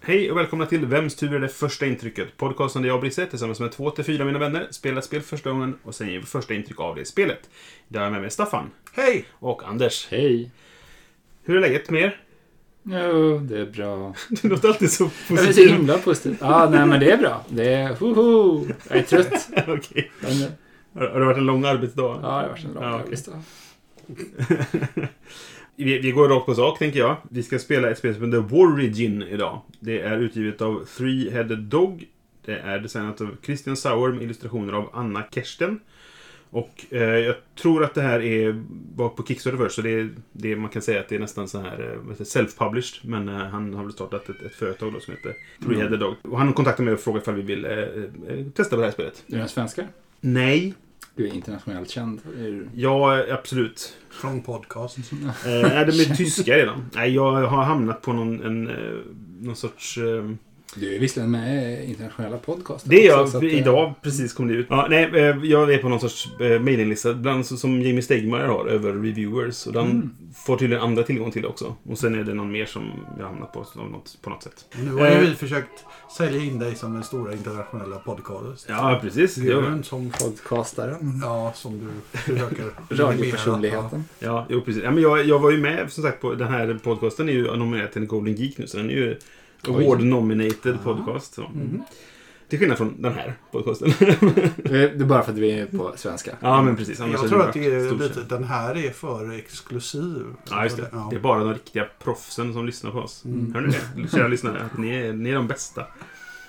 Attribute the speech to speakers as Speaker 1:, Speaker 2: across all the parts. Speaker 1: Hej och välkomna till Vems tur är det första intrycket? Podcasten där jag och Brisse tillsammans med två till fyra av mina vänner spelar spel första gången och sen ger vi första intryck av det spelet. Idag har jag med mig Staffan
Speaker 2: Hej!
Speaker 1: och Anders.
Speaker 3: Hej!
Speaker 1: Hur är läget med er?
Speaker 3: Jo, det är bra.
Speaker 1: Du låter alltid så
Speaker 3: Jag är så
Speaker 1: positiv.
Speaker 3: himla positiv. Ah, nej, men det är bra. Det är hoho! Jag är trött.
Speaker 1: Okej.
Speaker 3: Men,
Speaker 1: Har har det varit en lång arbetsdag?
Speaker 3: ja, det har varit en
Speaker 1: Ja,
Speaker 3: bra
Speaker 1: okej.
Speaker 3: dag.
Speaker 1: Vi, vi går rakt på sak, tänker jag. Vi ska spela ett spel som heter Warrigin idag. Det är utgivet av Three Headed Dog. Det är designat av Christian Sauer med illustrationer av Anna Kersten. Och eh, jag tror att det här är, var på Kickstarter först, så det, är- det, är- man kan säga att det är nästan så här eh, vad heter det, self-published. Men eh, han har väl startat ett, ett företag då som heter Three Headed Dog. Och han kontaktade mig och frågade ifall vi vill eh, eh, testa på det här spelet.
Speaker 3: Du är en svenskare.
Speaker 1: Nej.
Speaker 3: Du är internationellt känd. Är du-
Speaker 1: Ja, eh, absolut.
Speaker 2: Från podcast.
Speaker 1: Eh, nej, de är tyska redan. Nej, jag har hamnat på någon, en, eh, någon sorts... Eh,
Speaker 3: Du är visserligen med i internationella podcaster.
Speaker 1: det är jag.
Speaker 3: också, så att, eh,
Speaker 1: idag precis kom det ut. Ja, nej, eh, jag är på någon sorts eh, mailinglista. Bland annat så- som Jamie Stegmaier har över reviewers. Och den
Speaker 3: Mm.
Speaker 1: får tydligen andra tillgång till också. Och sen är det någon mer som jag har hamnat på så- av något, på något sätt.
Speaker 2: Nu har ju
Speaker 1: Eh.
Speaker 2: vi försökt sälja in dig som den stora internationella podcast.
Speaker 1: Ja, precis. Ja,
Speaker 2: Gurun som,
Speaker 3: Podcastaren.
Speaker 2: ja, som du försöker
Speaker 3: Radiopersonligheten.
Speaker 1: ja, jo, precis. Ja, men jag, jag var ju med, som sagt, på den här podcasten är ju nominerad till en Golden Geek nu. Så den är ju
Speaker 3: Oj. Mm-hmm.
Speaker 1: award-nominated podcast. Så. Till skillnad från den här podcasten.
Speaker 3: Eh, Det är bara för att vi är på svenska.
Speaker 1: Ja, men precis. Annars
Speaker 2: Jag tror att det är
Speaker 1: stor
Speaker 2: lite,
Speaker 1: tjej.
Speaker 2: den här är för exklusiv.
Speaker 1: Ja, just det.
Speaker 2: Ja.
Speaker 1: Det är bara de riktiga proffsen som lyssnar på oss.
Speaker 2: Mm.
Speaker 1: Hör ni det? Kära lyssnare, att ni är, ni är de bästa.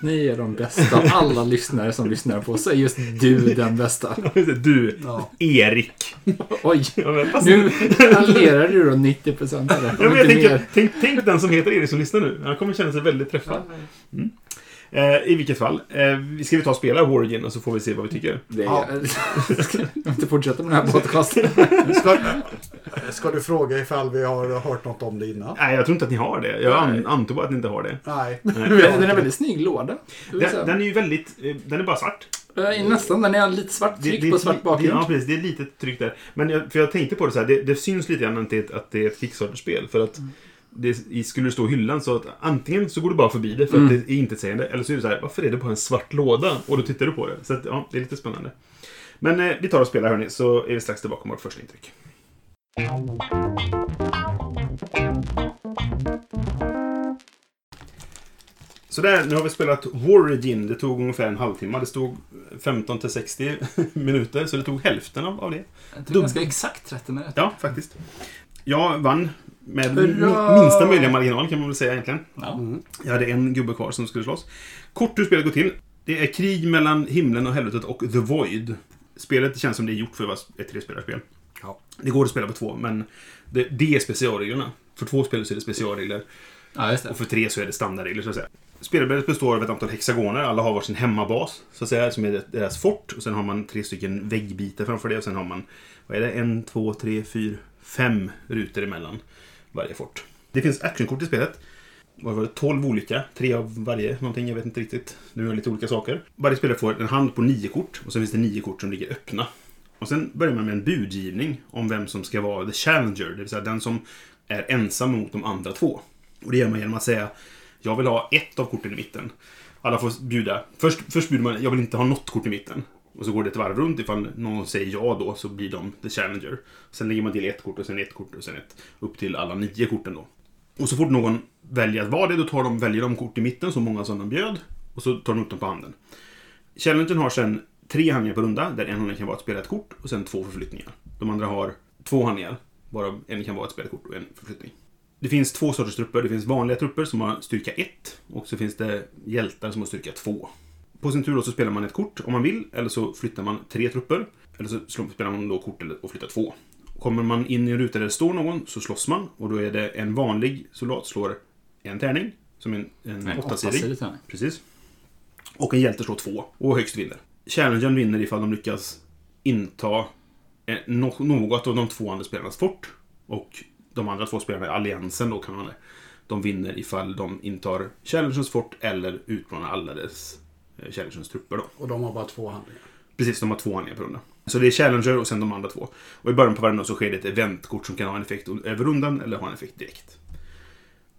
Speaker 3: Ni är de bästa av alla lyssnare som lyssnar på oss. Så är just du den bästa.
Speaker 1: Du,
Speaker 2: Ja.
Speaker 1: Erik.
Speaker 3: Oj!
Speaker 1: Ja, men fast-
Speaker 3: Nu raljerar du då 90 procent av det.
Speaker 1: Alltså, Ja,
Speaker 3: om
Speaker 1: men jag
Speaker 3: inte
Speaker 1: tänker, tänk, tänk den som heter Erik som lyssnar nu. Han kommer känna sig väldigt träffad.
Speaker 3: mer.
Speaker 1: Eh, I vilket fall, eh, vi ska vi ta och spela Warrigen och så får vi se vad vi tycker.
Speaker 3: Det är
Speaker 2: Ja.
Speaker 3: jag. Ska jag inte fortsätta med den här podcasten?
Speaker 2: Ska, ska du fråga ifall vi har hört något om det innan?
Speaker 1: Nej, jag tror inte att ni har det. Jag an,
Speaker 3: Nej.
Speaker 1: antar bara att ni inte har det.
Speaker 2: Nej.
Speaker 3: Den är en väldigt snygg låda. Det vill säga,
Speaker 1: Den, den är ju väldigt... eh, Den är bara svart.
Speaker 3: eh, Nästan, den är lite svart
Speaker 1: Det-
Speaker 3: tryck
Speaker 1: det-
Speaker 3: på svart bakgrund.
Speaker 1: Ja, precis. Det är lite tryck där. Men jag, för jag tänkte på det så här. Det, det syns lite grann att det, är ett- att det är ett Kickstarter-spel. För att
Speaker 3: Mm.
Speaker 1: det i- skulle det stå i hyllan så att antingen så går du bara förbi det för att
Speaker 3: Mm.
Speaker 1: det är intetsägande. Eller så är det så här, varför är det bara en svart låda? Och då tittar du på det. Så att, ja, det är lite spännande. Men eh, vi tar och spelar hörni, så är vi strax tillbaka med vårt första intryck. Sådär, nu har vi spelat Warrigin. Det tog ungefär en halvtimme. Det stod 15 till 60 minuter, så det tog hälften av, av det.
Speaker 3: Jag tror ganska exakt 30 minuter.
Speaker 1: Ja, faktiskt. Jag vann med
Speaker 3: Hurra!
Speaker 1: minsta möjliga marginal kan man väl säga egentligen.
Speaker 3: Ja.
Speaker 1: Jag hade en gubbe kvar som skulle slåss. Kort hur spelet går till. Det är krig mellan himlen och helvetet och The Void. Spelet känns som det är gjort för att vara ett trespelarspel.
Speaker 2: Ja.
Speaker 1: Det går att spela på två, men det, det är specialreglerna. För två spelare så är det specialregler
Speaker 3: ja, just det.
Speaker 1: och för tre så är det standardregler så att säga. Spelbrädet består av ett antal hexagoner, alla har varsin hemmabas, så att säga, som är deras fort. Och sen har man tre stycken väggbitar framför det och sen har man, vad är det, en, två, tre, fyra, fem rutor emellan varje fort. Det finns actionkort i spelet. Vad var det? 12 olika. Tre av varje någonting, jag vet inte riktigt. Nu har jag lite olika saker. Varje spelare får en hand på nio kort och sen finns det nio kort som ligger öppna. Och sen börjar man med en budgivning om vem som ska vara the challenger, det vill säga den som är ensam mot de andra två. Och det gör man genom att säga jag vill ha ett av korten i mitten. Alla får bjuda. Först, först bjuder man jag vill inte ha något kort i mitten. Och så går det ett varv runt. Ifall någon säger ja då så blir de the challenger. Sen lägger man till ett kort och sen ett kort och sen ett. Upp till alla nio korten då. Och så fort någon väljer att vara det, då tar de, väljer de kort i mitten, så många som de bjöd. Och så tar de upp dem på handen. Challengen har sen tre handlingar på runda, där en handling kan vara att spela ett kort och sen två förflyttningar. De andra har två handlingar, varav en kan vara att spela ett kort och en förflyttning. Det finns två sorters trupper. Det finns vanliga trupper som har styrka 1 och så finns det hjältar som har styrka 2. På sin tur då så spelar man ett kort om man vill, eller så flyttar man tre trupper. Eller så slår- spelar man då kort eller- och flyttar två. Kommer man in i en ruta där det står någon så slåss man och då är det en vanlig soldat slår en tärning, som en, en
Speaker 3: Nej,
Speaker 1: åttasidig.
Speaker 3: åttasidigt, ja.
Speaker 1: Precis. Och en hjälte slår två. Och högst vinner. Challengern vinner ifall de lyckas inta eh, nå- något av de två andra spelarnas fort. Och de andra två spelarna i alliansen då kan man De vinner ifall de intar challengens fort eller utmanar alla dess eh, challengens trupper då.
Speaker 4: Och de har bara två handlingar.
Speaker 1: Precis, de har två handlingar per runda. Så det är Challenger och sen de andra två. Och i början på varje runda så sker det ett eventkort som kan ha en effekt över rundan eller ha en effekt direkt.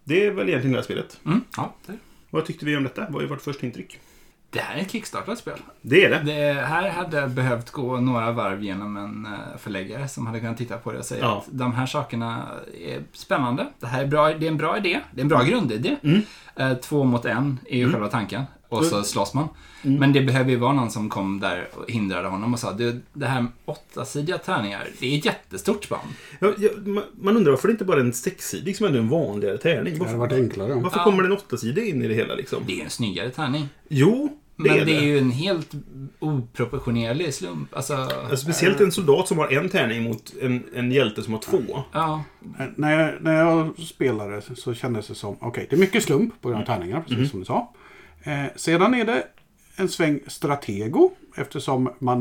Speaker 1: Det är väl egentligen det här spelet.
Speaker 3: Mm, ja, det.
Speaker 1: Vad tyckte vi om detta? Vad är vårt första intryck?
Speaker 3: det här är ett kickstartat spel.
Speaker 1: Det är det.
Speaker 3: Det här hade jag behövt gå några varv genom en eh, förläggare som hade kunnat titta på det och säga
Speaker 1: Ja.
Speaker 3: att de här sakerna är spännande. Det här är, bra, det är en bra idé. Det är en bra grundidé.
Speaker 1: Mm.
Speaker 3: Eh, Två mot en är ju själva tanken. Och så slåss man.
Speaker 1: Mm.
Speaker 3: Men det behöver ju vara någon som kom där och hindrade honom och sa du, det här med åttasidiga tärningar, det är ett jättestort spann.
Speaker 1: Ja, ja, ma- man undrar varför det inte bara är en sexsidig som ändå är en vanligare tärning.
Speaker 4: Det hade
Speaker 1: Varför,
Speaker 4: varit enklare.
Speaker 1: varför
Speaker 3: Ja.
Speaker 1: kommer den åttasidig in i det hela liksom?
Speaker 3: Det är en snyggare tärning.
Speaker 1: Jo, det
Speaker 3: Men
Speaker 1: är
Speaker 3: det är
Speaker 1: det.
Speaker 3: ju en helt oproportionerlig slump. Alltså,
Speaker 1: Alltså, speciellt en soldat som har en tärning mot en, en hjälte som har två.
Speaker 3: ja.
Speaker 2: Men Eh, När jag, när jag spelade så- så kändes det som, okej, det är mycket slump på grund av
Speaker 1: Mm.
Speaker 2: tärningarna, precis
Speaker 1: Mm-hmm.
Speaker 2: som du sa. Eh, sedan är det en sväng stratego, eftersom man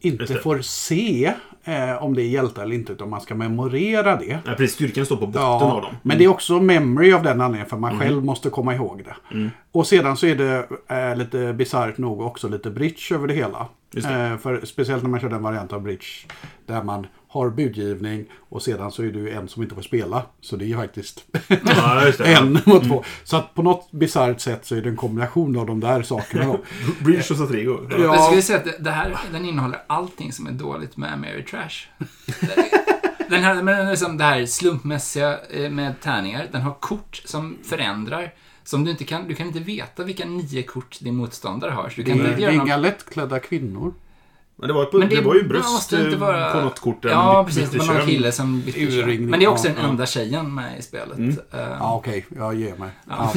Speaker 1: Just
Speaker 2: inte
Speaker 1: det.
Speaker 2: får se eh, om det är hjältar eller inte, utan man ska memorera det.
Speaker 1: Ja, precis, styrkan står på botten av dem. Mm.
Speaker 2: Men det är också memory av den anledningen för man själv måste komma ihåg det. Och sedan så är det eh, lite bisarrt nog också lite bridge över det hela.
Speaker 1: Just
Speaker 2: Eh, för, speciellt när man kör den variant av bridge där man har budgivning och sedan så är det ju en som inte får spela. Så det är ju faktiskt
Speaker 1: Ja, just det.
Speaker 2: en mot två. Så att på något bisarrt sätt så är det en kombination av de där sakerna då.
Speaker 1: Bridge och Satrigo.
Speaker 2: Ja.
Speaker 3: Jag skulle säga att det- det här, den innehåller allting som är dåligt med Mary Trash. Den här, men den är liksom det här slumpmässiga eh, med tärningar, den har kort som förändrar. Som du inte kan, du kan inte veta vilka nio kort din motståndare har. Så du
Speaker 2: Det
Speaker 3: kan
Speaker 2: är,
Speaker 3: inte
Speaker 2: det är
Speaker 3: göra någon
Speaker 2: Mm. inga lättklädda kvinnor.
Speaker 1: Men det var, ett, det, var ju bröst
Speaker 3: måste inte
Speaker 1: eh,
Speaker 3: vara-
Speaker 1: på något kort. en
Speaker 3: Ja,
Speaker 1: bit-
Speaker 3: precis. Det
Speaker 1: bit i
Speaker 3: var någon
Speaker 1: kön.
Speaker 3: kille som bytte kön.
Speaker 2: Urringning,
Speaker 3: Men det är också
Speaker 2: ja,
Speaker 3: den enda tjejen med i spelet. Eh,
Speaker 2: Ja, okej. Jag ger mig. Ja.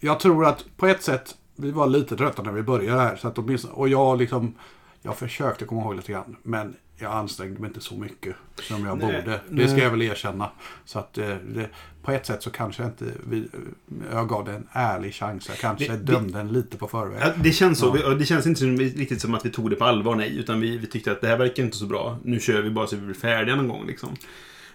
Speaker 2: jag tror att på ett sätt, vi var lite trötta när vi började här. Så att åtminstone, och jag liksom, jag försökte komma ihåg lite grann. Men jag ansträngde mig inte så mycket som jag borde. Det ska jag väl erkänna. Så att eh, det, på ett sätt så kanske jag inte, vi, jag gav det en ärlig chans. Jag kanske
Speaker 1: Vi- vi-
Speaker 2: dömde den lite på förväg.
Speaker 1: Ja, det känns så. Vi- Det känns inte som, riktigt som att vi tog det på allvar, nej. Utan vi, vi tyckte att det här verkar inte så bra. Nu kör vi bara så vi blir färdiga någon gång. Liksom.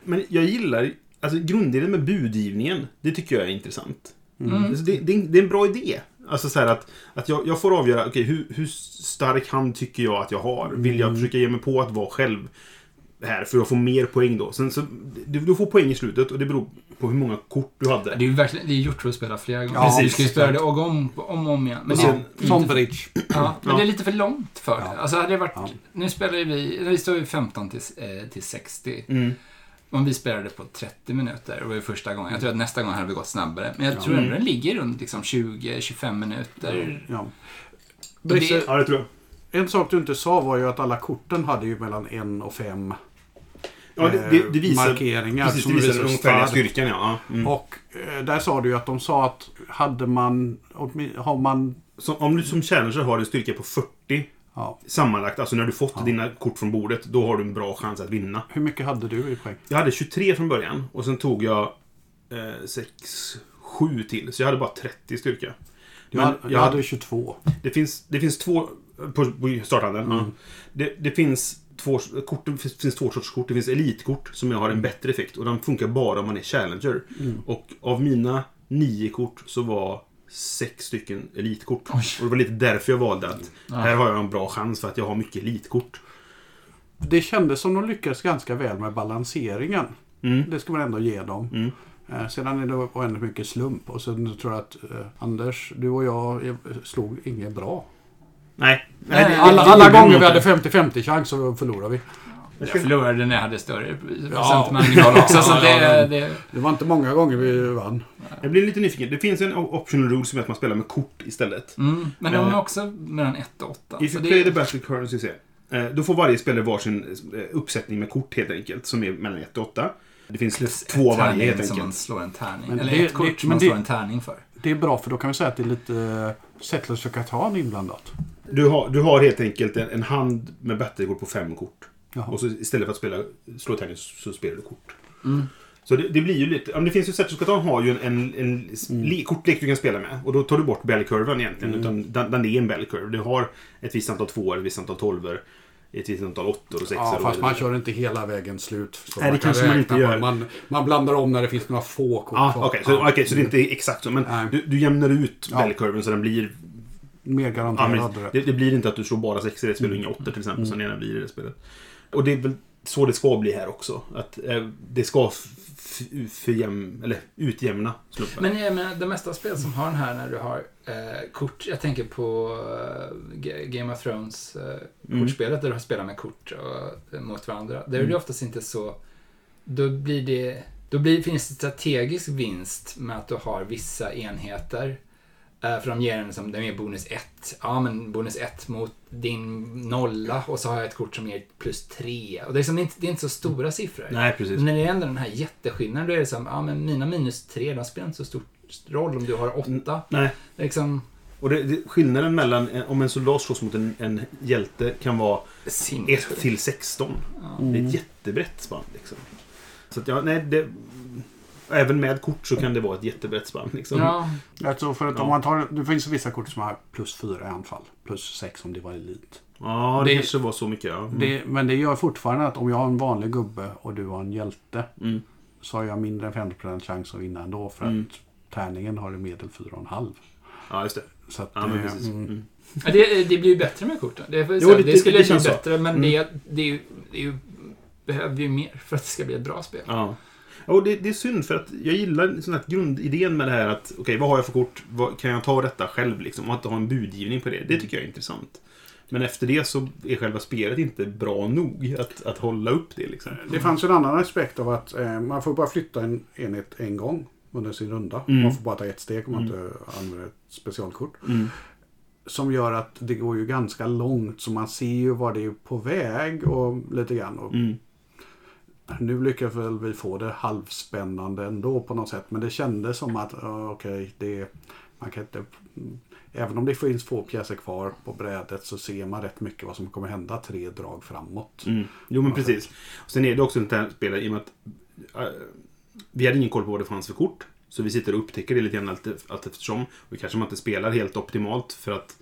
Speaker 1: Men jag gillar alltså, grunddelen med budgivningen. Det tycker jag är intressant. Alltså, det, det, är en- det är en bra idé. Alltså så här att, att jag, jag får avgöra okay, hur, hur stark hand tycker jag att jag har. Vill jag försöka ge mig på att vara själv här för att få mer poäng då? Sen så, du, du får poäng i slutet och det beror på hur många kort du hade.
Speaker 3: Det är ju verkligen, det är gjort för att spela flera gånger.
Speaker 2: Ja,
Speaker 3: du
Speaker 2: precis.
Speaker 3: ska ju spela det och om, om och om igen. Men det,
Speaker 2: som,
Speaker 3: är-
Speaker 2: som bridge.
Speaker 3: Ja, men
Speaker 1: Ja.
Speaker 3: det är lite för långt för det. Alltså hade det varit,
Speaker 2: Mm. Ja.
Speaker 3: nu spelar ju vi, vi står ju 15 till, eh, till 60.
Speaker 1: Mm.
Speaker 3: Om vi spelade på 30 minuter, det var ju första gången. Jag tror att
Speaker 2: Mm.
Speaker 3: nästa gång hade vi gått snabbare. Men jag tror ändå den ligger runt liksom 20-25 minuter.
Speaker 2: Ja.
Speaker 3: det-
Speaker 2: Brisse,
Speaker 1: Ja, det tror jag.
Speaker 2: En sak du inte sa var ju att alla korten hade ju mellan en och fem
Speaker 1: Ja, det, det, det
Speaker 2: eh,
Speaker 1: visar,
Speaker 2: markeringar.
Speaker 1: Precis, det
Speaker 2: som
Speaker 1: visar den
Speaker 2: hur
Speaker 1: ungefärliga
Speaker 2: stark
Speaker 1: styrkan, ja. ja. Mm.
Speaker 2: Och eh, där sa du ju att de sa att hade man, åtmin- har man,
Speaker 1: Så om du som challenger har en styrka på 40
Speaker 2: ja,
Speaker 1: sammanlagt, alltså när du fått dina kort från bordet, då har du en bra chans att vinna.
Speaker 2: hur mycket hade du i poäng?
Speaker 1: Jag hade 23 från början och sen tog jag eh, 6, 7 till, så jag hade bara 30 styrka.
Speaker 2: Jag, hade- jag hade 22.
Speaker 1: Det finns, det finns två... På, på starthandeln? Ja. Det, det finns två, kort, det finns, finns två sorters kort. Det finns elitkort som jag har
Speaker 2: Mm.
Speaker 1: en bättre effekt och de funkar bara om man är challenger. Och av mina nio kort så var sex stycken elitkort. Och det var lite därför jag valde att här har jag en bra chans för att jag har mycket elitkort.
Speaker 2: Det kändes som de lyckades ganska väl med balanseringen. Det ska man ändå ge dem. Eh, Sedan är det oändligt mycket slump och sen tror jag att eh, Anders, du och jag eh, slog inget bra.
Speaker 1: Nej.
Speaker 3: Nej,
Speaker 1: det-
Speaker 2: Alla,
Speaker 1: det- det-
Speaker 2: alla
Speaker 1: det-
Speaker 2: gånger
Speaker 1: det-
Speaker 2: vi hade 50-50 chans så förlorade vi.
Speaker 3: Jag förlorade när jag hade större
Speaker 2: Ja.
Speaker 3: procentmarginal också. Så
Speaker 2: Ja, ja,
Speaker 3: det,
Speaker 2: ja.
Speaker 3: det,
Speaker 2: Det var inte många gånger vi vann.
Speaker 1: Jag blir lite nyfiken. Det finns en optional rule som är att man spelar med kort istället.
Speaker 3: mm. Men de
Speaker 1: Eh.
Speaker 3: är också mellan 1 och 8.
Speaker 2: Alltså,
Speaker 1: If you play the battle currency, se. Eh, Då får varje spelare varsin eh, uppsättning med kort helt enkelt, som är mellan 1 och 8. Det finns två varje helt
Speaker 3: som man
Speaker 1: enkelt.
Speaker 3: slår en tärning.
Speaker 2: Men
Speaker 3: Eller
Speaker 2: det-
Speaker 3: ett kort
Speaker 2: det-
Speaker 3: som
Speaker 2: men
Speaker 3: man
Speaker 2: det-
Speaker 3: slår en tärning för.
Speaker 2: Det är bra för då kan vi säga att det är lite eh, Settlers of Catan inblandat.
Speaker 1: Du har, du har helt enkelt en, en hand med battlekort på fem kort.
Speaker 2: Jaha. Mm.
Speaker 1: Och så istället för att spela slå tärning så så spelar du kort. Så det, det blir ju lite... ja, men Det finns ju Zetterskatan har ju en, en, en s-
Speaker 2: Mm.
Speaker 1: le, kortlek du kan spela med. Och då tar du bort bellcurven egentligen. Utan den, den är en bellcurve. Du har ett visst antal tvåor, ett visst antal tolvor, ett visst antal åttor och sexor.
Speaker 2: Ja,
Speaker 1: och
Speaker 2: fast
Speaker 1: så
Speaker 2: man
Speaker 1: vidare.
Speaker 2: kör inte hela vägen slut. Så
Speaker 1: Nej, det
Speaker 2: kan
Speaker 1: kanske man
Speaker 2: räkna
Speaker 1: inte
Speaker 2: på-
Speaker 1: gör.
Speaker 2: Man, man blandar om när det finns några få kort
Speaker 1: Ja,
Speaker 2: kvar.
Speaker 1: Ah, okej. så,
Speaker 2: Ja.
Speaker 1: okej, så det är inte exakt så. Men
Speaker 2: Nej.
Speaker 1: du, du jämnar ut
Speaker 2: Ja.
Speaker 1: bellcurven så den blir...
Speaker 2: Mer
Speaker 1: Ja,
Speaker 2: garanterad
Speaker 1: men
Speaker 2: rätt.
Speaker 1: det, det blir inte att du slår bara sexor i ett spel och inga åttor till exempel,
Speaker 2: Mm.
Speaker 1: som det gärna blir i det spelet. Och det är väl så det ska bli här också. Att eh, det ska f- f- förjäm- eller utjämna slumpen.
Speaker 3: Men jag menar, det mesta spel som har den här när du har eh, kort, jag tänker på eh, G- Game of Thrones eh, kortspelet där du har spelat med kort och, eh, mot varandra. Där är det oftast inte så, då blir det, då blir, finns det strategisk vinst med att du har vissa enheter. Eh, för de ger en som, de ger bonus 1. Ja men bonus 1 mot din nolla och så har jag ett kort som ger plus 3. Och det är, liksom inte, det är inte så stora siffror.
Speaker 1: Nej, precis.
Speaker 3: Men när det är ändå den här jätteskillnaden, då är det som, ja men mina minus tre, de spelar inte så stor roll om du har åtta.
Speaker 1: Nej.
Speaker 3: Det är Liksom,
Speaker 1: Och det, det, skillnaden mellan eh, om en soldat slåss mot en, en hjälte kan vara
Speaker 3: simpel.
Speaker 1: 1 till 16. Det
Speaker 2: Mm.
Speaker 1: är ett jättebrett spann. Liksom. Så att, ja, nej, det, även med kort så kan det vara ett jättebrett spann. Liksom.
Speaker 3: Ja,
Speaker 2: Alltså för att
Speaker 1: Ja.
Speaker 2: om man tar, det finns vissa kort som har plus fyra i anfall. Plus sex om det var elit.
Speaker 1: ja det,
Speaker 2: Det-
Speaker 1: kanske var så mycket. Ja. Mm.
Speaker 2: Det, men det gör fortfarande att om jag har en vanlig gubbe och du har en hjälte.
Speaker 1: Mm.
Speaker 2: Så har jag mindre än 50% chans att vinna ändå. För
Speaker 1: Mm.
Speaker 2: att tärningen har i medel 4,5.
Speaker 1: Ja, just det.
Speaker 2: Så att
Speaker 1: Ja, men
Speaker 2: det-
Speaker 1: precis.
Speaker 2: mm.
Speaker 1: Mm.
Speaker 3: Ja, det, det blir ju bättre med korten. Det, är för-
Speaker 1: Jo,
Speaker 3: så,
Speaker 1: det-
Speaker 3: det,
Speaker 1: det-
Speaker 3: skulle
Speaker 1: det
Speaker 3: bli
Speaker 1: känns så. Mm.
Speaker 3: bättre, men det, det, är ju, det är ju, behöver ju mer för att det ska bli ett bra spel.
Speaker 1: Ja. Ja, Och det, det är synd för att jag gillar sån här grundidén med det här att okej, vad har jag för kort? Vad, kan jag ta detta själv liksom? Och att ha en budgivning på det. Det tycker jag är intressant. Men efter det så är själva spelet inte bra nog att, att hålla upp det liksom.
Speaker 2: Det fanns ju en annan aspekt av att eh, man får bara flytta en enhet en gång under sin runda.
Speaker 1: Mm.
Speaker 2: Man får bara ta ett steg om man inte använder ett specialkort.
Speaker 1: Mm.
Speaker 2: Som gör att det går ju ganska långt så man ser ju vad det är på väg och lite grann. Och
Speaker 1: Mm.
Speaker 2: Nu lyckas väl vi få det halvspännande ändå på något sätt. Men det kändes som att ja, okej, det man kan inte... Även om det finns få pjäser kvar på brädet så ser man rätt mycket vad som kommer hända tre drag framåt.
Speaker 1: Mm. Jo, men precis. Och sen är det också ett här spel i och med att eh, vi hade ingen koll på vad det fanns för kort. Så vi sitter och upptäcker det lite grann allt, e-, allt eftersom. Och kanske man inte spelar helt optimalt för att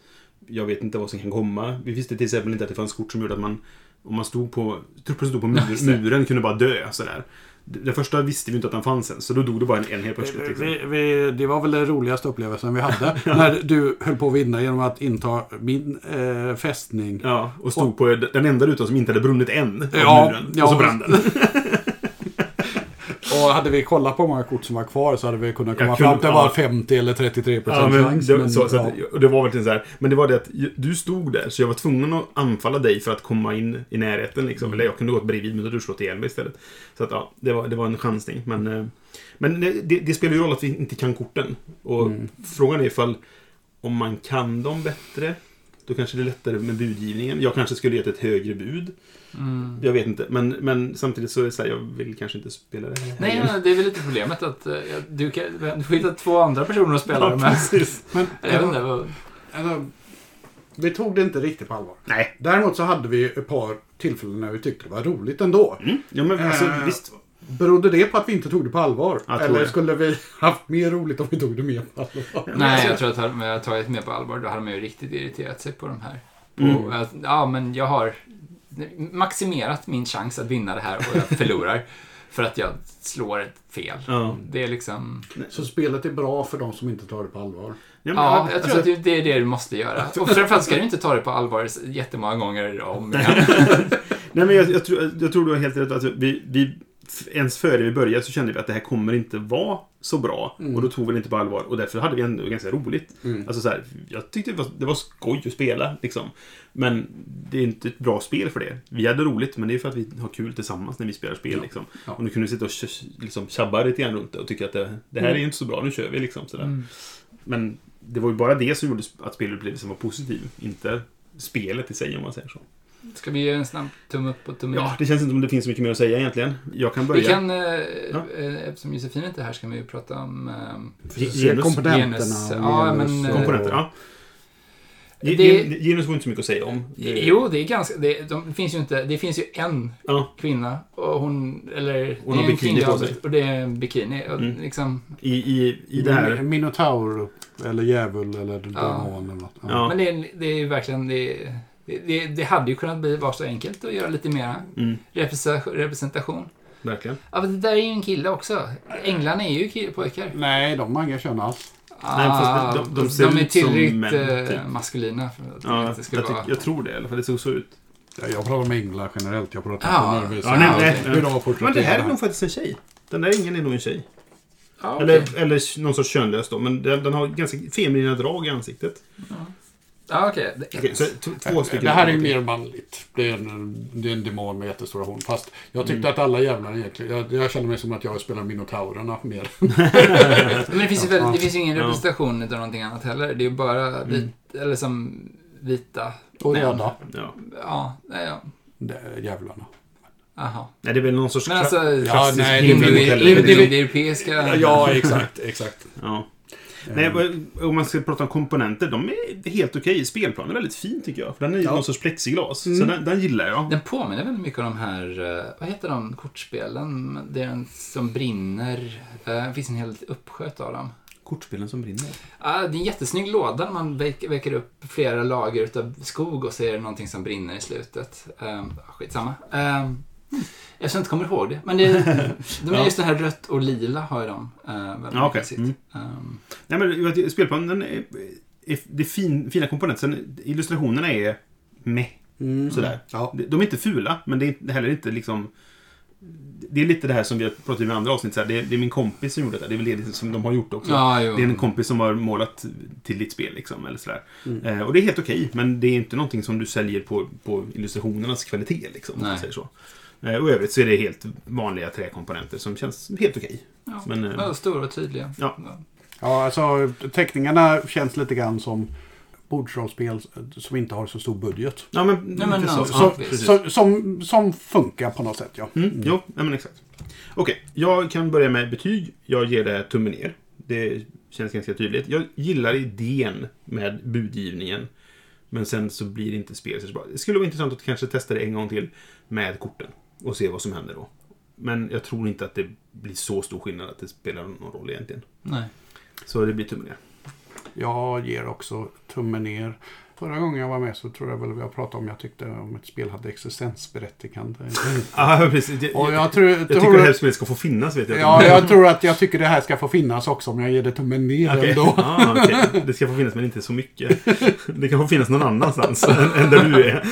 Speaker 1: jag vet inte vad som kan komma. Vi visste till exempel inte att det fanns kort som gjorde att man om man stod på, trupper som stod på mur, muren kunde bara dö sådär. Det det första visste vi inte att den fanns än, så då dog det bara en, en helt plötsligt. Liksom.
Speaker 2: Vi, vi, det var väl den roligaste upplevelsen vi hade. När du höll på att vinna genom att inta min eh, fästning.
Speaker 1: Ja, och stod på den enda rutan som inte hade brunnit än. av
Speaker 2: Ja,
Speaker 1: muren,
Speaker 2: ja,
Speaker 1: och så brann den.
Speaker 2: Och hade vi kollat på hur många kort som var kvar så hade vi kunnat komma
Speaker 1: Jag kunde-
Speaker 2: fram till
Speaker 1: ja.
Speaker 2: bara 50 eller 33 procent
Speaker 1: Ja, men
Speaker 2: chans.
Speaker 1: det,
Speaker 2: men,
Speaker 1: så, så
Speaker 2: ja.
Speaker 1: att, och det var verkligen så här. Men det var det att ju- du stod där, så jag var tvungen att anfalla dig för att komma in i närheten. Liksom. Eller jag kunde gått bredvid, men då hade du slått ihjäl mig istället. Så att, ja, det var, det var en chansning. Men, eh, men det, det- det spelar ju roll att vi inte kan korten. Och frågan är ifall om man kan dem bättre, då kanske det är lättare med budgivningen. Jag kanske skulle gett ett högre bud.
Speaker 3: Mm.
Speaker 1: Jag vet inte. Men, men samtidigt så är det så här, jag vill kanske inte spela det här.
Speaker 3: Nej,
Speaker 1: igen.
Speaker 3: men det är väl lite problemet att eh, du, kan, du får hitta två andra personer att spela
Speaker 1: Ja,
Speaker 3: det med.
Speaker 1: precis.
Speaker 2: men,
Speaker 3: Jag vet inte, vad-
Speaker 2: Alltså, vi tog det inte riktigt på allvar.
Speaker 1: Nej.
Speaker 2: Däremot så hade vi ett par tillfällen när vi tyckte det var roligt ändå.
Speaker 1: Mm. Ja, men alltså,
Speaker 2: Eh,
Speaker 1: visst.
Speaker 2: Berodde det på att vi inte tog det på allvar?
Speaker 1: Jag tror
Speaker 2: Eller
Speaker 1: det.
Speaker 2: skulle vi haft mer roligt om vi tog det mer på allvar?
Speaker 3: Nej, jag tror att hade man tagit med på allvar, då hade man ju riktigt irriterat sig på de här.
Speaker 1: Mm.
Speaker 3: Och att, ja, men jag har maximerat min chans att vinna det här och jag förlorar för att jag slår ett fel.
Speaker 1: Ja.
Speaker 3: Det är liksom...
Speaker 2: Så spelet är bra för de som inte tar det på allvar.
Speaker 1: Ja, men,
Speaker 3: Ja, jag tror
Speaker 1: alltså-
Speaker 3: att det- det är det du måste göra. Och framförallt ska du inte ta det på allvar jättemånga gånger om igen.
Speaker 1: Nej, men jag, jag, tror, jag tror du har helt rätt. Alltså, vi, vi, f- ens före vi började så kände vi att det här kommer inte vara så bra. Och då tog vi det inte på allvar. Och därför hade vi ändå ganska roligt.
Speaker 2: Mm.
Speaker 1: Alltså, så här, jag tyckte det var, det var skoj att spela. Liksom. Men det är inte ett bra spel för det. Vi hade roligt, men det är för att vi har kul tillsammans när vi spelar spel. Liksom.
Speaker 2: Ja.
Speaker 1: Och nu kunde vi sitta och tj- liksom, tjabba lite grann runt det och tycka att det, det här är ju inte så bra, nu kör vi. Liksom, sådär.
Speaker 3: Mm.
Speaker 1: Men det var ju bara det som gjorde att spelupplevelsen var positiv. Inte spelet i sig, om man säger så.
Speaker 3: Ska vi göra en snabb tumme upp och tumme ner?
Speaker 1: Ja, det känns inte som det finns så mycket mer att säga egentligen. Jag kan börja.
Speaker 3: Mm. Vi kan, eh,
Speaker 1: Ja.
Speaker 3: eh, eftersom Josefin inte är här, ska vi ju prata om... eh,
Speaker 1: Ge- Genus.
Speaker 3: komponenterna, Ja, men,
Speaker 1: Komponenter, ja. Ge-
Speaker 3: eh, Det-
Speaker 1: Gen- Genus var inte så mycket att säga om. Det-
Speaker 3: Jo, det är ganska... Det, de finns ju inte... Det finns ju en
Speaker 1: Ja,
Speaker 3: kvinna och hon... Eller...
Speaker 1: Hon har
Speaker 3: det är en
Speaker 1: bikini
Speaker 3: kvinnlig
Speaker 1: på
Speaker 3: avbild,
Speaker 1: sig.
Speaker 3: Och det är en bikini. Och
Speaker 1: Mm.
Speaker 3: liksom,
Speaker 1: i, i, i det här.
Speaker 2: Min- Minotaur eller djävul eller demon eller något. Ja.
Speaker 1: Ja.
Speaker 3: Men det är, det är ju verkligen... Det, är- det, det, det hade ju kunnat bli vara så enkelt att göra lite mera
Speaker 1: Mm,
Speaker 3: representa- representation.
Speaker 1: verkligen.
Speaker 3: Ja, men det där är ju en kille också. Änglarna är ju kill- pojkar. Ah,
Speaker 2: Nej, de har inga kön alls.
Speaker 1: Nej, fast de- de- de ser
Speaker 3: är
Speaker 1: ut som
Speaker 3: tillräckligt
Speaker 1: män,
Speaker 3: eh,
Speaker 1: typ.
Speaker 3: maskulina för att
Speaker 1: Ja,
Speaker 3: de
Speaker 1: jag,
Speaker 3: inte ska
Speaker 1: tyck,
Speaker 3: vara...
Speaker 1: jag tror det i alla fall. Det såg så ut.
Speaker 2: Ja, Jag pratar om änglar generellt. Jag pratar
Speaker 3: Ja.
Speaker 2: inte om nödvändigtvis
Speaker 1: Ja, nej, nej, nej.
Speaker 2: hur de har
Speaker 1: Men
Speaker 2: porträtterat
Speaker 1: det här är
Speaker 2: här.
Speaker 1: nog faktiskt en tjej. Den där ingen är nog en tjej.
Speaker 3: Ja, okej.
Speaker 1: Eller, eller någon sorts könlös då. Men den, den har ganska feminina drag i ansiktet.
Speaker 3: Ja, okej.
Speaker 1: Okej, så t- två stycken.
Speaker 2: Det här är ju mer manligt. Det är, en, det är en demon med jättestora horn. Fast jag tyckte att alla jävlar egentligen... Jag, jag känner mig som att jag spelar Minotaurerna mer.
Speaker 3: Men det finns ju, väldigt, det finns ju ingen
Speaker 1: Ja. Mm.
Speaker 3: representation utav någonting annat heller. Det är ju bara vit, eller som vita.
Speaker 2: Och
Speaker 3: män.
Speaker 2: röda.
Speaker 1: Ja.
Speaker 3: Ja, nej, ja.
Speaker 2: Det är Jävlarna.
Speaker 3: Aha.
Speaker 1: Nej, det är väl någon sorts...
Speaker 3: Men alltså,
Speaker 2: Ja, nej, det
Speaker 3: individ-
Speaker 2: blir- det blir-
Speaker 3: individeuropeiska...
Speaker 2: Ja, exakt. exakt.
Speaker 1: Ja. Nej, men om man ska prata om komponenter, de är helt okej. Spelplanen är väldigt fin tycker jag. För den är ju någon sorts plexiglas. Så den, den gillar jag.
Speaker 3: Den påminner väldigt mycket om de här, eh, vad heter de, kortspelen? Det är en som brinner. Eh, Det finns en hel uppsköt av dem.
Speaker 1: Kortspelen som brinner.
Speaker 3: Ah, det är en jättesnygg låda när man väck- väcker upp flera lager utav skog och så är det någonting som brinner i slutet. Um, skitsamma. Um, eftersom jag inte kommer ihåg det. Men det, de är
Speaker 1: Ja.
Speaker 3: just det här rött och lila har ju de. eh, väldigt
Speaker 1: Ja,
Speaker 3: mycket
Speaker 1: okej.
Speaker 3: sitt.
Speaker 1: Mm.
Speaker 3: Ehm,
Speaker 1: Nej, men jag tycker spelplanen den är... är det är fin, fina komponenter. Sen illustrationerna är meh. Sådär.
Speaker 2: Ja.
Speaker 1: De är inte fula, men det är inte- heller inte liksom... Det är lite det här som vi har pratat om i andra avsnitt. Så här, det, är, det är min kompis som gjorde det. Det är väl det som de har gjort också.
Speaker 3: ja, jo.
Speaker 1: Det är en kompis som har målat till ditt spel liksom, eller sådär. Eh, och det är helt okej, men det är inte någonting som du säljer på, på illustrationernas kvalitet liksom. Om man
Speaker 3: Nej.
Speaker 1: säger så. Eh, och i övrigt så är det helt vanliga träkomponenter som känns helt okej.
Speaker 3: ja.
Speaker 1: men, eh,
Speaker 3: ja, stora och tydliga.
Speaker 1: ja.
Speaker 2: Ja, alltså teckningarna känns lite grann som bordsrollspel som inte har så stor budget.
Speaker 1: Ja, men,
Speaker 3: Nej, men
Speaker 1: lite
Speaker 3: no,
Speaker 1: så.
Speaker 3: ja,
Speaker 1: Ja,
Speaker 3: precis.
Speaker 1: så-
Speaker 2: Så, som, som funkar på något sätt, ja.
Speaker 1: Mm, Jo, ja, men exakt. Okej, jag kan börja med betyg. Jag ger det här tummen ner. Det känns ganska tydligt. Jag gillar idén med budgivningen. Men sen så blir det inte spelet så bra. Det skulle vara intressant att kanske testa det en gång till med korten och se vad som händer då. Men jag tror inte att det blir så stor skillnad att det spelar någon roll egentligen.
Speaker 3: Nej.
Speaker 1: Så det blir tummen ner.
Speaker 2: Jag ger också tummen ner. Förra gången jag var med så tror jag väl vi har pratat om jag tyckte om ett spel hade existensberättigande.
Speaker 1: Ja, precis. Jag,
Speaker 2: Och
Speaker 1: jag,
Speaker 2: jag tror...
Speaker 1: jag tycker
Speaker 2: tror
Speaker 1: det här spelet ska få finnas, vet jag.
Speaker 2: Ja, jag tror att jag tycker det här ska få finnas också om jag ger det tummen ner
Speaker 1: Okej.
Speaker 2: ändå.
Speaker 1: Ah, okej. Det ska få finnas, men inte så mycket. Det kan få finnas någon annanstans än, än där du är.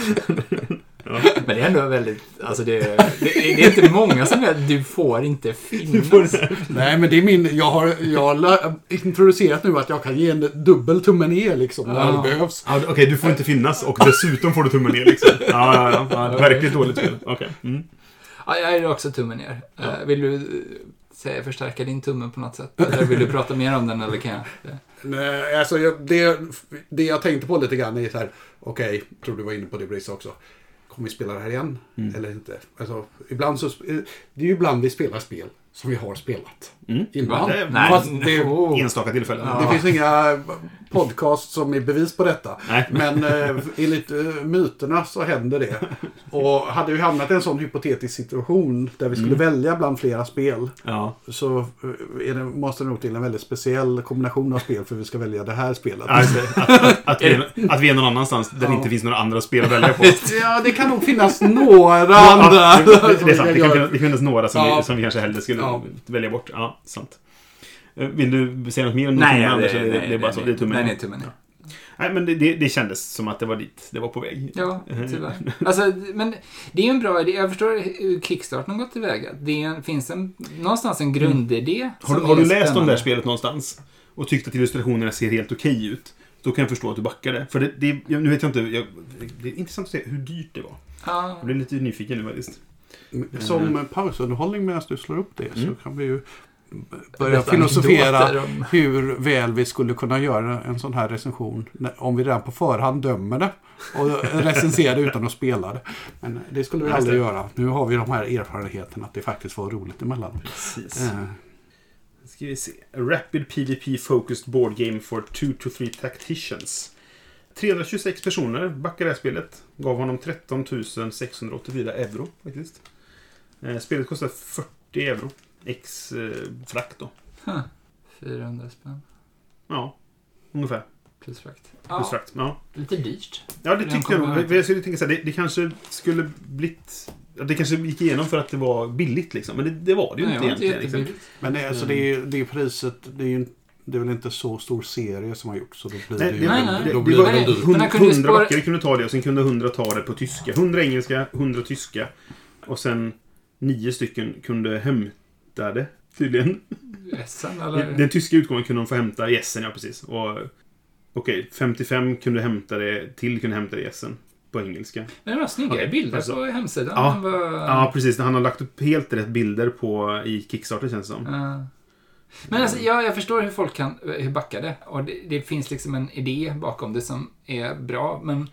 Speaker 3: Men det är ändå väldigt, alltså det, det, det är inte många som är du får inte finnas.
Speaker 2: Nej, men det är min... Jag har, jag har lö- introducerat nu att jag kan ge en dubbel tumme ner liksom när det
Speaker 3: Ja.
Speaker 2: behövs.
Speaker 1: Ja, Ah, Okej, du får inte finnas och dessutom får du tummen ner liksom. Ja, ja, ja. ja verkligt dåligt spel. Okej. Mm.
Speaker 3: Ja, jag ger också tummen ner. Eh, Vill du eh, säga, förstärka din tumme på något sätt? Eller vill du prata mer om den eller kan jag?
Speaker 2: Nej, alltså jag, det, det jag tänkte på lite grann är så här, okej, tror du var inne på det Brisa också. Kommer vi spela det här igen
Speaker 1: Mm.
Speaker 2: eller inte? Alltså, ibland så, det är ju ibland vi spelar spel som vi har spelat
Speaker 1: Mm.
Speaker 2: innan.
Speaker 1: Va? Det-
Speaker 3: Nej. oh.
Speaker 2: Fast det,
Speaker 1: Oh. Enstaka tillfällen.
Speaker 2: det finns inga podcast som är bevis på detta.
Speaker 1: Nej.
Speaker 2: Men eh, enligt eh, myterna så händer det. Och hade vi hamnat i en sån hypotetisk situation där vi skulle
Speaker 1: Mm.
Speaker 2: välja bland flera spel
Speaker 1: Ja.
Speaker 2: så eh, är det, måste det nog till en väldigt speciell kombination av spel för vi ska välja det här spelet.
Speaker 1: Ja, just det. Att, att, att, vi är, att vi är någon annanstans där det inte finns några andra spel att välja på.
Speaker 2: Ja, det kan nog finnas några
Speaker 1: Ja,
Speaker 2: andra.
Speaker 1: det, det är sant.
Speaker 2: som
Speaker 1: Det
Speaker 2: vi
Speaker 1: kan
Speaker 2: gör.
Speaker 1: finnas, det finnas några som, vi,
Speaker 2: Ja.
Speaker 1: som vi kanske hellre skulle
Speaker 2: Ja.
Speaker 1: välja bort. Ja, sant. Eh, Vill du säga något mer om din tumme, Anders? Eller det, det är bara så. Det är tummen
Speaker 3: Nej,
Speaker 1: ner.
Speaker 3: nej, tummen ner.
Speaker 1: Nej, men det, det, det kändes som att det var dit det var på väg.
Speaker 3: Ja, tyvärr. Alltså, men det är ju en bra idé. Jag förstår hur Kickstarten har gått tillväga. Det är en, finns en, någonstans en grundidé.
Speaker 1: Mm. Har du,
Speaker 3: som
Speaker 1: har
Speaker 3: är
Speaker 1: du läst om det
Speaker 3: spännande.
Speaker 1: här spelet någonstans och tyckt att illustrationerna ser helt okej ut, då kan jag förstå att du backade. För det, det, jag- nu vet jag inte, jag, det är intressant att se hur dyrt det var.
Speaker 3: Ja.
Speaker 1: Jag blir lite nyfiken nu faktiskt.
Speaker 2: Mm. Som pausunderhållning medan du slår upp det så
Speaker 1: Mm.
Speaker 2: kan vi ju börja
Speaker 3: Berätta
Speaker 2: filosofera
Speaker 3: anekdoter om-
Speaker 2: hur väl vi skulle kunna göra en sån här recension när- om vi redan på förhand dömer det och recenserar det utan att spela det. Men det skulle vi
Speaker 1: Ja, just
Speaker 2: aldrig göra. Nu har vi de här erfarenheterna att det faktiskt var roligt emellanåt.
Speaker 1: Precis.
Speaker 2: Eh,
Speaker 1: Ska vi se. A rapid PVP focused board game for two to three tacticians. 326 personer backade det här spelet. Gav honom 13 684 euro faktiskt. Eh, Spelet kostar 40 euro. Ex eh, frakt då.
Speaker 3: Huh. 400 spänn
Speaker 1: Ja, ungefär.
Speaker 3: plus frakt.
Speaker 1: Plus
Speaker 3: Ja,
Speaker 1: frakt. Ja.
Speaker 3: lite dyrt.
Speaker 1: Ja, det
Speaker 3: Den
Speaker 1: tyckte jag
Speaker 3: kommer
Speaker 1: nog.
Speaker 3: jag inte.
Speaker 1: Jag skulle tänka så här, det, det kanske skulle blivit... ja, Det kanske gick igenom för att det var billigt liksom. Men det, det var det ju
Speaker 3: Nej,
Speaker 1: inte
Speaker 3: det var inte
Speaker 1: egentligen. Liksom.
Speaker 3: jättebilligt.
Speaker 2: Men det, är- alltså, det, är,
Speaker 1: Mm.
Speaker 2: det är priset, det är ju inte- det är väl inte så stor serie som har gjorts, så då blir
Speaker 1: Nej,
Speaker 2: det
Speaker 1: det-
Speaker 2: ju...
Speaker 3: Nej, nej.
Speaker 2: Då
Speaker 1: det
Speaker 2: blir
Speaker 1: var-
Speaker 2: det väl dyrt.
Speaker 3: Men han kunde ju
Speaker 1: 100
Speaker 3: spara-
Speaker 1: böcker kunde ta det och sen kunde 100 ta det på tyska. 100 engelska, 100 tyska. Och sen nio stycken kunde hämta det. Tydligen.
Speaker 3: Essen eller?
Speaker 1: Den tyska utgången kunde de få hämta i Essen, ja precis. Och, Okej, 55 kunde hämta det, till kunde hämta det i Essen. På engelska.
Speaker 3: Men det var snyggare
Speaker 1: Okej,
Speaker 3: bilder
Speaker 1: alltså.
Speaker 3: på hemsidan.
Speaker 1: Ja.
Speaker 3: Den var-
Speaker 1: Ja, precis. Han har lagt upp helt rätt bilder på, i Kickstarter känns det som.
Speaker 3: Ja. Eh. Men alltså, ja, jag förstår hur folk kan eh, hur backade. Och det, det finns liksom en idé bakom det som är bra, men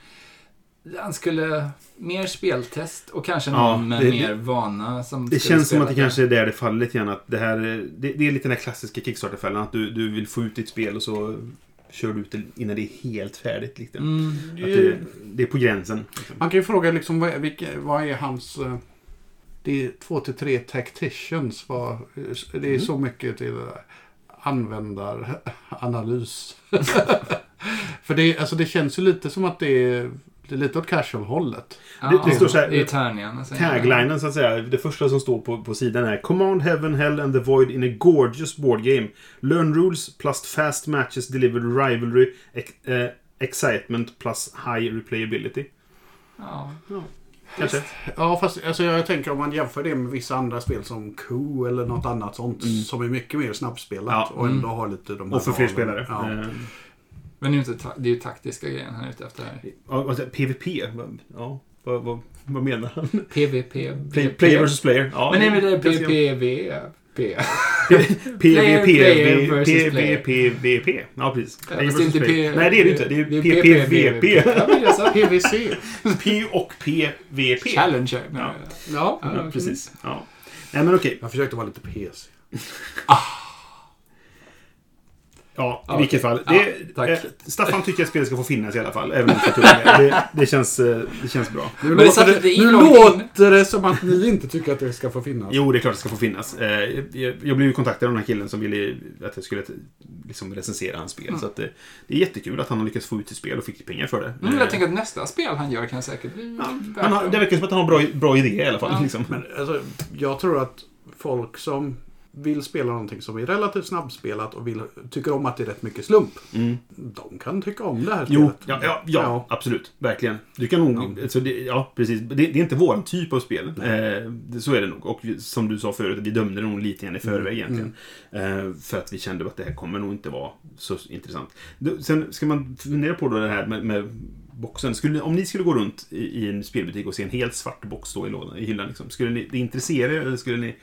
Speaker 3: han skulle mer speltest och kanske någon
Speaker 1: Ja,
Speaker 3: med
Speaker 1: det-
Speaker 3: mer vana som
Speaker 1: Det
Speaker 3: skulle
Speaker 1: känns som
Speaker 3: spela
Speaker 1: att det kanske är där det faller lite grann. Att det, här, det, det är lite den här klassiska Kickstarter-fällan. Att du, du vill få ut ditt spel och så kör du ut det innan det är helt färdigt. Lite.
Speaker 3: Mm.
Speaker 1: Att det, det är på gränsen. Liksom.
Speaker 2: Man kan ju fråga liksom, vad, är- vilka, vad är hans... eh, Det är två till tre tacticians. Vad, eh, det är
Speaker 1: Mm.
Speaker 2: så mycket till eh, användaranalys. För det, alltså, det känns ju lite som att det är, det är lite åt casual-hållet.
Speaker 3: Ja,
Speaker 1: det- det står så här-
Speaker 3: är tärningarna. Alltså.
Speaker 1: Taglinen, så att säga. Det första som står på, på sidan är Command Heaven, Hell and the Void in a gorgeous board game. Learn rules plus fast matches deliver rivalry ex- eh, excitement plus high replayability.
Speaker 3: Ja.
Speaker 1: Kanske.
Speaker 2: Ja, fast alltså, jag tänker om man jämför det med vissa andra spel som Coup eller något annat sånt som är mycket mer snabbspelat
Speaker 1: Mm. Ja. mm.
Speaker 2: och ändå har lite de här
Speaker 1: Och för fler
Speaker 2: valen.
Speaker 1: spelare.
Speaker 2: Ja.
Speaker 1: Eh,
Speaker 3: Men det är ju inte ta- det är ju taktiska grejen han är ute efter här.
Speaker 1: ja, alltså, PVP. vad- Ja, vad, vad, vad menar han?
Speaker 3: PVP.
Speaker 1: Play, player versus player. Ja,
Speaker 3: Men nej, men det är
Speaker 1: ganska-
Speaker 3: PPV. P.
Speaker 1: PVP,
Speaker 3: Player versus player.
Speaker 1: PVP. Ja, precis.
Speaker 3: Ja,
Speaker 1: Player
Speaker 3: fast det är
Speaker 1: versus
Speaker 3: inte
Speaker 1: player.
Speaker 3: P-
Speaker 1: Nej, det är det inte. Det är PPVP.
Speaker 3: Ja, men jag sa PVC.
Speaker 1: P och PVP.
Speaker 3: Challenger. men-
Speaker 1: Ja.
Speaker 3: Ja,
Speaker 1: Ja,
Speaker 3: ja,
Speaker 1: precis. Ja. Nej, men okej.
Speaker 2: Jag försökte vara lite PC.
Speaker 1: Ja, i
Speaker 3: Ja,
Speaker 1: vilket fall.
Speaker 3: Ja,
Speaker 1: Det,
Speaker 3: tack.
Speaker 1: eh, Staffan tycker att spelet ska få finnas i alla fall. Även om det, är tungt. det, det, känns, eh, det känns bra.
Speaker 2: Nu,
Speaker 3: Men det
Speaker 2: låter,
Speaker 3: satte
Speaker 2: det,
Speaker 3: inte i
Speaker 2: nu
Speaker 3: någonting.
Speaker 2: låter det som att ni inte tycker att det ska få finnas.
Speaker 1: Jo, det är klart det ska få finnas. Eh, Jag jag blev ju kontaktad av den här killen som ville att jag skulle eh, liksom recensera hans
Speaker 3: Mm.
Speaker 1: spel. Så att det, det är jättekul att han har lyckats få ut sitt spel och fick pengar för det.
Speaker 3: Mm,
Speaker 1: Eh,
Speaker 3: jag tänker att nästa spel han gör kan säkert bli värt
Speaker 1: Han har,
Speaker 3: att-
Speaker 1: det verkar som att han har bra, bra idé i alla fall.
Speaker 3: Ja.
Speaker 1: Liksom.
Speaker 2: Men alltså, jag tror att folk som vill spela någonting som är relativt snabbspelat och vill, tycker om att det är rätt mycket slump.
Speaker 1: Mm.
Speaker 2: De kan tycka om det här
Speaker 1: Jo,
Speaker 2: spelet.
Speaker 1: ja, ja, ja,
Speaker 2: Ja.
Speaker 1: absolut. Verkligen. Du kan nog... Ja, alltså, det, ja precis. Det, det är inte vår typ av spel. Eh, det- så är det nog. Och vi- som du sa förut, vi dömde det nog lite grann i förväg
Speaker 2: Mm.
Speaker 1: egentligen. Eh, för att vi kände att det här kommer nog inte vara så intressant. Du, sen ska man fundera på då det här med, med boxen. Skulle, om ni skulle gå runt i, i en spelbutik och se en helt svart box stå i, lådan, i hyllan, liksom, skulle ni det intressera er eller skulle ni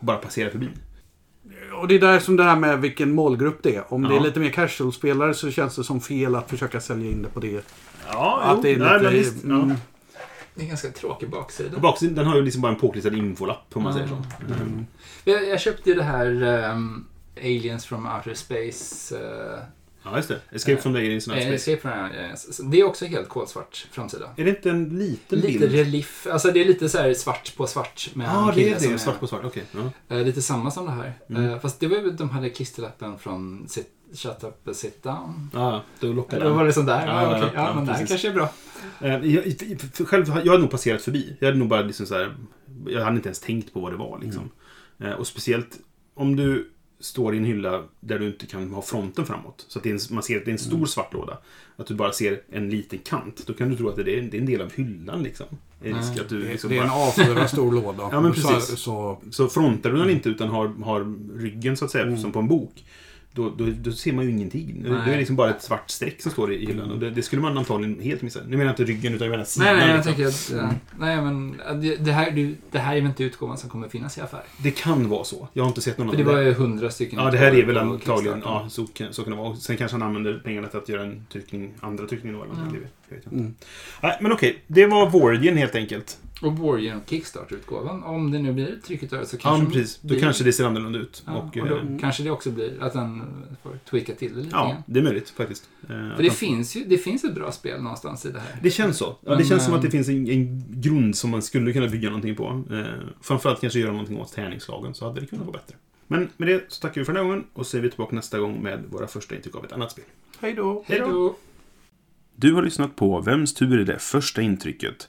Speaker 1: bara passera förbi?
Speaker 2: Och det är där som det här med vilken målgrupp det är. Om det
Speaker 1: Ja.
Speaker 2: är lite mer casual-spelare så känns det som fel att försöka sälja in det på det.
Speaker 1: Ja,
Speaker 2: att det är lite...
Speaker 1: ja.
Speaker 2: mm,
Speaker 3: Det är en ganska tråkig baksida.
Speaker 1: Och Baksidan den har ju liksom bara en påklistrad infolapp om man säger så.
Speaker 2: Mm.
Speaker 3: Jag, jag köpte ju det här ehm, Aliens from Outer Space. eh,
Speaker 1: Ja, just det. Escape from the aliens in outer
Speaker 3: eh,
Speaker 1: space.
Speaker 3: Escape from Outer Aliens. Det är också helt kolsvart framsida.
Speaker 1: Är det inte en liten
Speaker 3: Lite
Speaker 1: bild?
Speaker 3: relief, alltså det är lite så här svart på svart med
Speaker 1: Ja, ah,
Speaker 3: en
Speaker 1: det
Speaker 3: kille
Speaker 1: är
Speaker 3: som
Speaker 1: det. Svart Mm. på svart. Okej. ja.
Speaker 3: eh, lite samma som det här. Eh, fast det var ju, de hade klisterlappen från sit, Shut Up and Sit Down.
Speaker 1: Ja, då lockar
Speaker 3: Då var
Speaker 1: den.
Speaker 3: det sånt där.
Speaker 1: Ja,
Speaker 3: Ja,
Speaker 1: ja,
Speaker 3: okej.
Speaker 1: ja,
Speaker 3: ja, men det här
Speaker 1: precis.
Speaker 3: kanske är bra.
Speaker 1: Eh, jag- i- för- Själv, jag hade nog passerat förbi. Jag hade nog bara liksom så här, Jag hade inte ens tänkt på vad det var liksom. Eh, Och speciellt om du står i en hylla där du inte kan ha fronten framåt. Så att det är en, man ser att det är en stor svart låda. Att du bara ser en liten kant. Då kan du tro att det är, det är en del av hyllan liksom. Det är risk att du
Speaker 2: det,
Speaker 1: liksom
Speaker 2: det är en
Speaker 1: bara-
Speaker 2: A4 stor låda.
Speaker 1: Ja, men
Speaker 2: Så,
Speaker 1: precis.
Speaker 2: så,
Speaker 1: Så frontar du den
Speaker 3: Mm.
Speaker 1: inte utan har, har ryggen så att säga, som på en bok. Då, då, då ser man ju ingenting. Det är
Speaker 3: Nej.
Speaker 1: det liksom bara ett svart streck som står i i hyllan. Och det, det skulle man antagligen helt missa. Nu menar jag inte ryggen utan jag menar sidan.
Speaker 3: Nej, nej, jag
Speaker 1: liksom.
Speaker 3: tänker att... eh, Nej, men eh, det, det, här, det, det här är väl inte utgåvan som kommer finnas i affär.
Speaker 1: Det kan vara så. Jag har inte sett någon
Speaker 3: För det
Speaker 1: annan.
Speaker 3: var ju hundra stycken.
Speaker 1: Mm. Ja, det här är väl
Speaker 3: på
Speaker 1: antagligen...
Speaker 3: Kickstarter.
Speaker 1: Ja, så, kan- så kan det vara. Och sen kanske han använder pengarna till att göra
Speaker 3: Mm.
Speaker 1: en tryckning, andra tryckning. Då, eller någonting. Det vet- jag vet inte. Nej, men okej, det var Vårdien helt enkelt.
Speaker 3: Och går genom Kickstarter-utgåvan. Om det nu blir trycket över så
Speaker 1: Ja,
Speaker 3: kanske
Speaker 1: men precis. Då
Speaker 3: blir-
Speaker 1: kanske det ser annorlunda ut.
Speaker 3: Ja,
Speaker 1: och,
Speaker 3: och, då
Speaker 1: eh,
Speaker 3: kanske det också blir att den får tweaka till det lite
Speaker 1: ja,
Speaker 3: grann.
Speaker 1: det är möjligt faktiskt. Eh, att
Speaker 3: För det
Speaker 1: man-
Speaker 3: finns ju det finns ett bra spel någonstans i det här.
Speaker 1: Det känns så. Ja, det
Speaker 3: Men,
Speaker 1: känns som att det
Speaker 3: ehm,
Speaker 1: finns en, en grund som man skulle kunna bygga någonting på. Eh, framförallt kanske göra någonting åt tärningslagen, så hade det kunnat vara bättre. Men med det så tackar vi för den här gången och så är vi tillbaka nästa gång med våra första intryck av ett annat spel.
Speaker 2: Hej då!
Speaker 3: Hej då!
Speaker 1: Du har lyssnat på Vems tur är det första intrycket?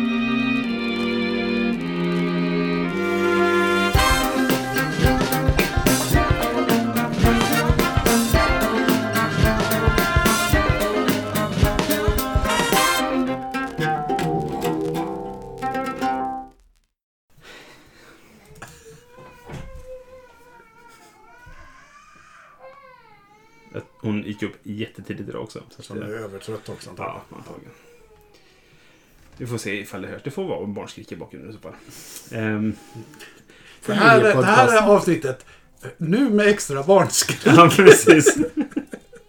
Speaker 1: Hon gick upp jättetidigt idag också.
Speaker 4: Så jag är övertrött också antagligen.
Speaker 1: Ja, antagligen. Vi får se ifall det hörs. Det får vara en barnskrik i bakgrunden i så fall. Ehm,
Speaker 2: eh,
Speaker 4: Det här, det här är avsnittet. Nu med extra barnskrik.
Speaker 1: ja, precis.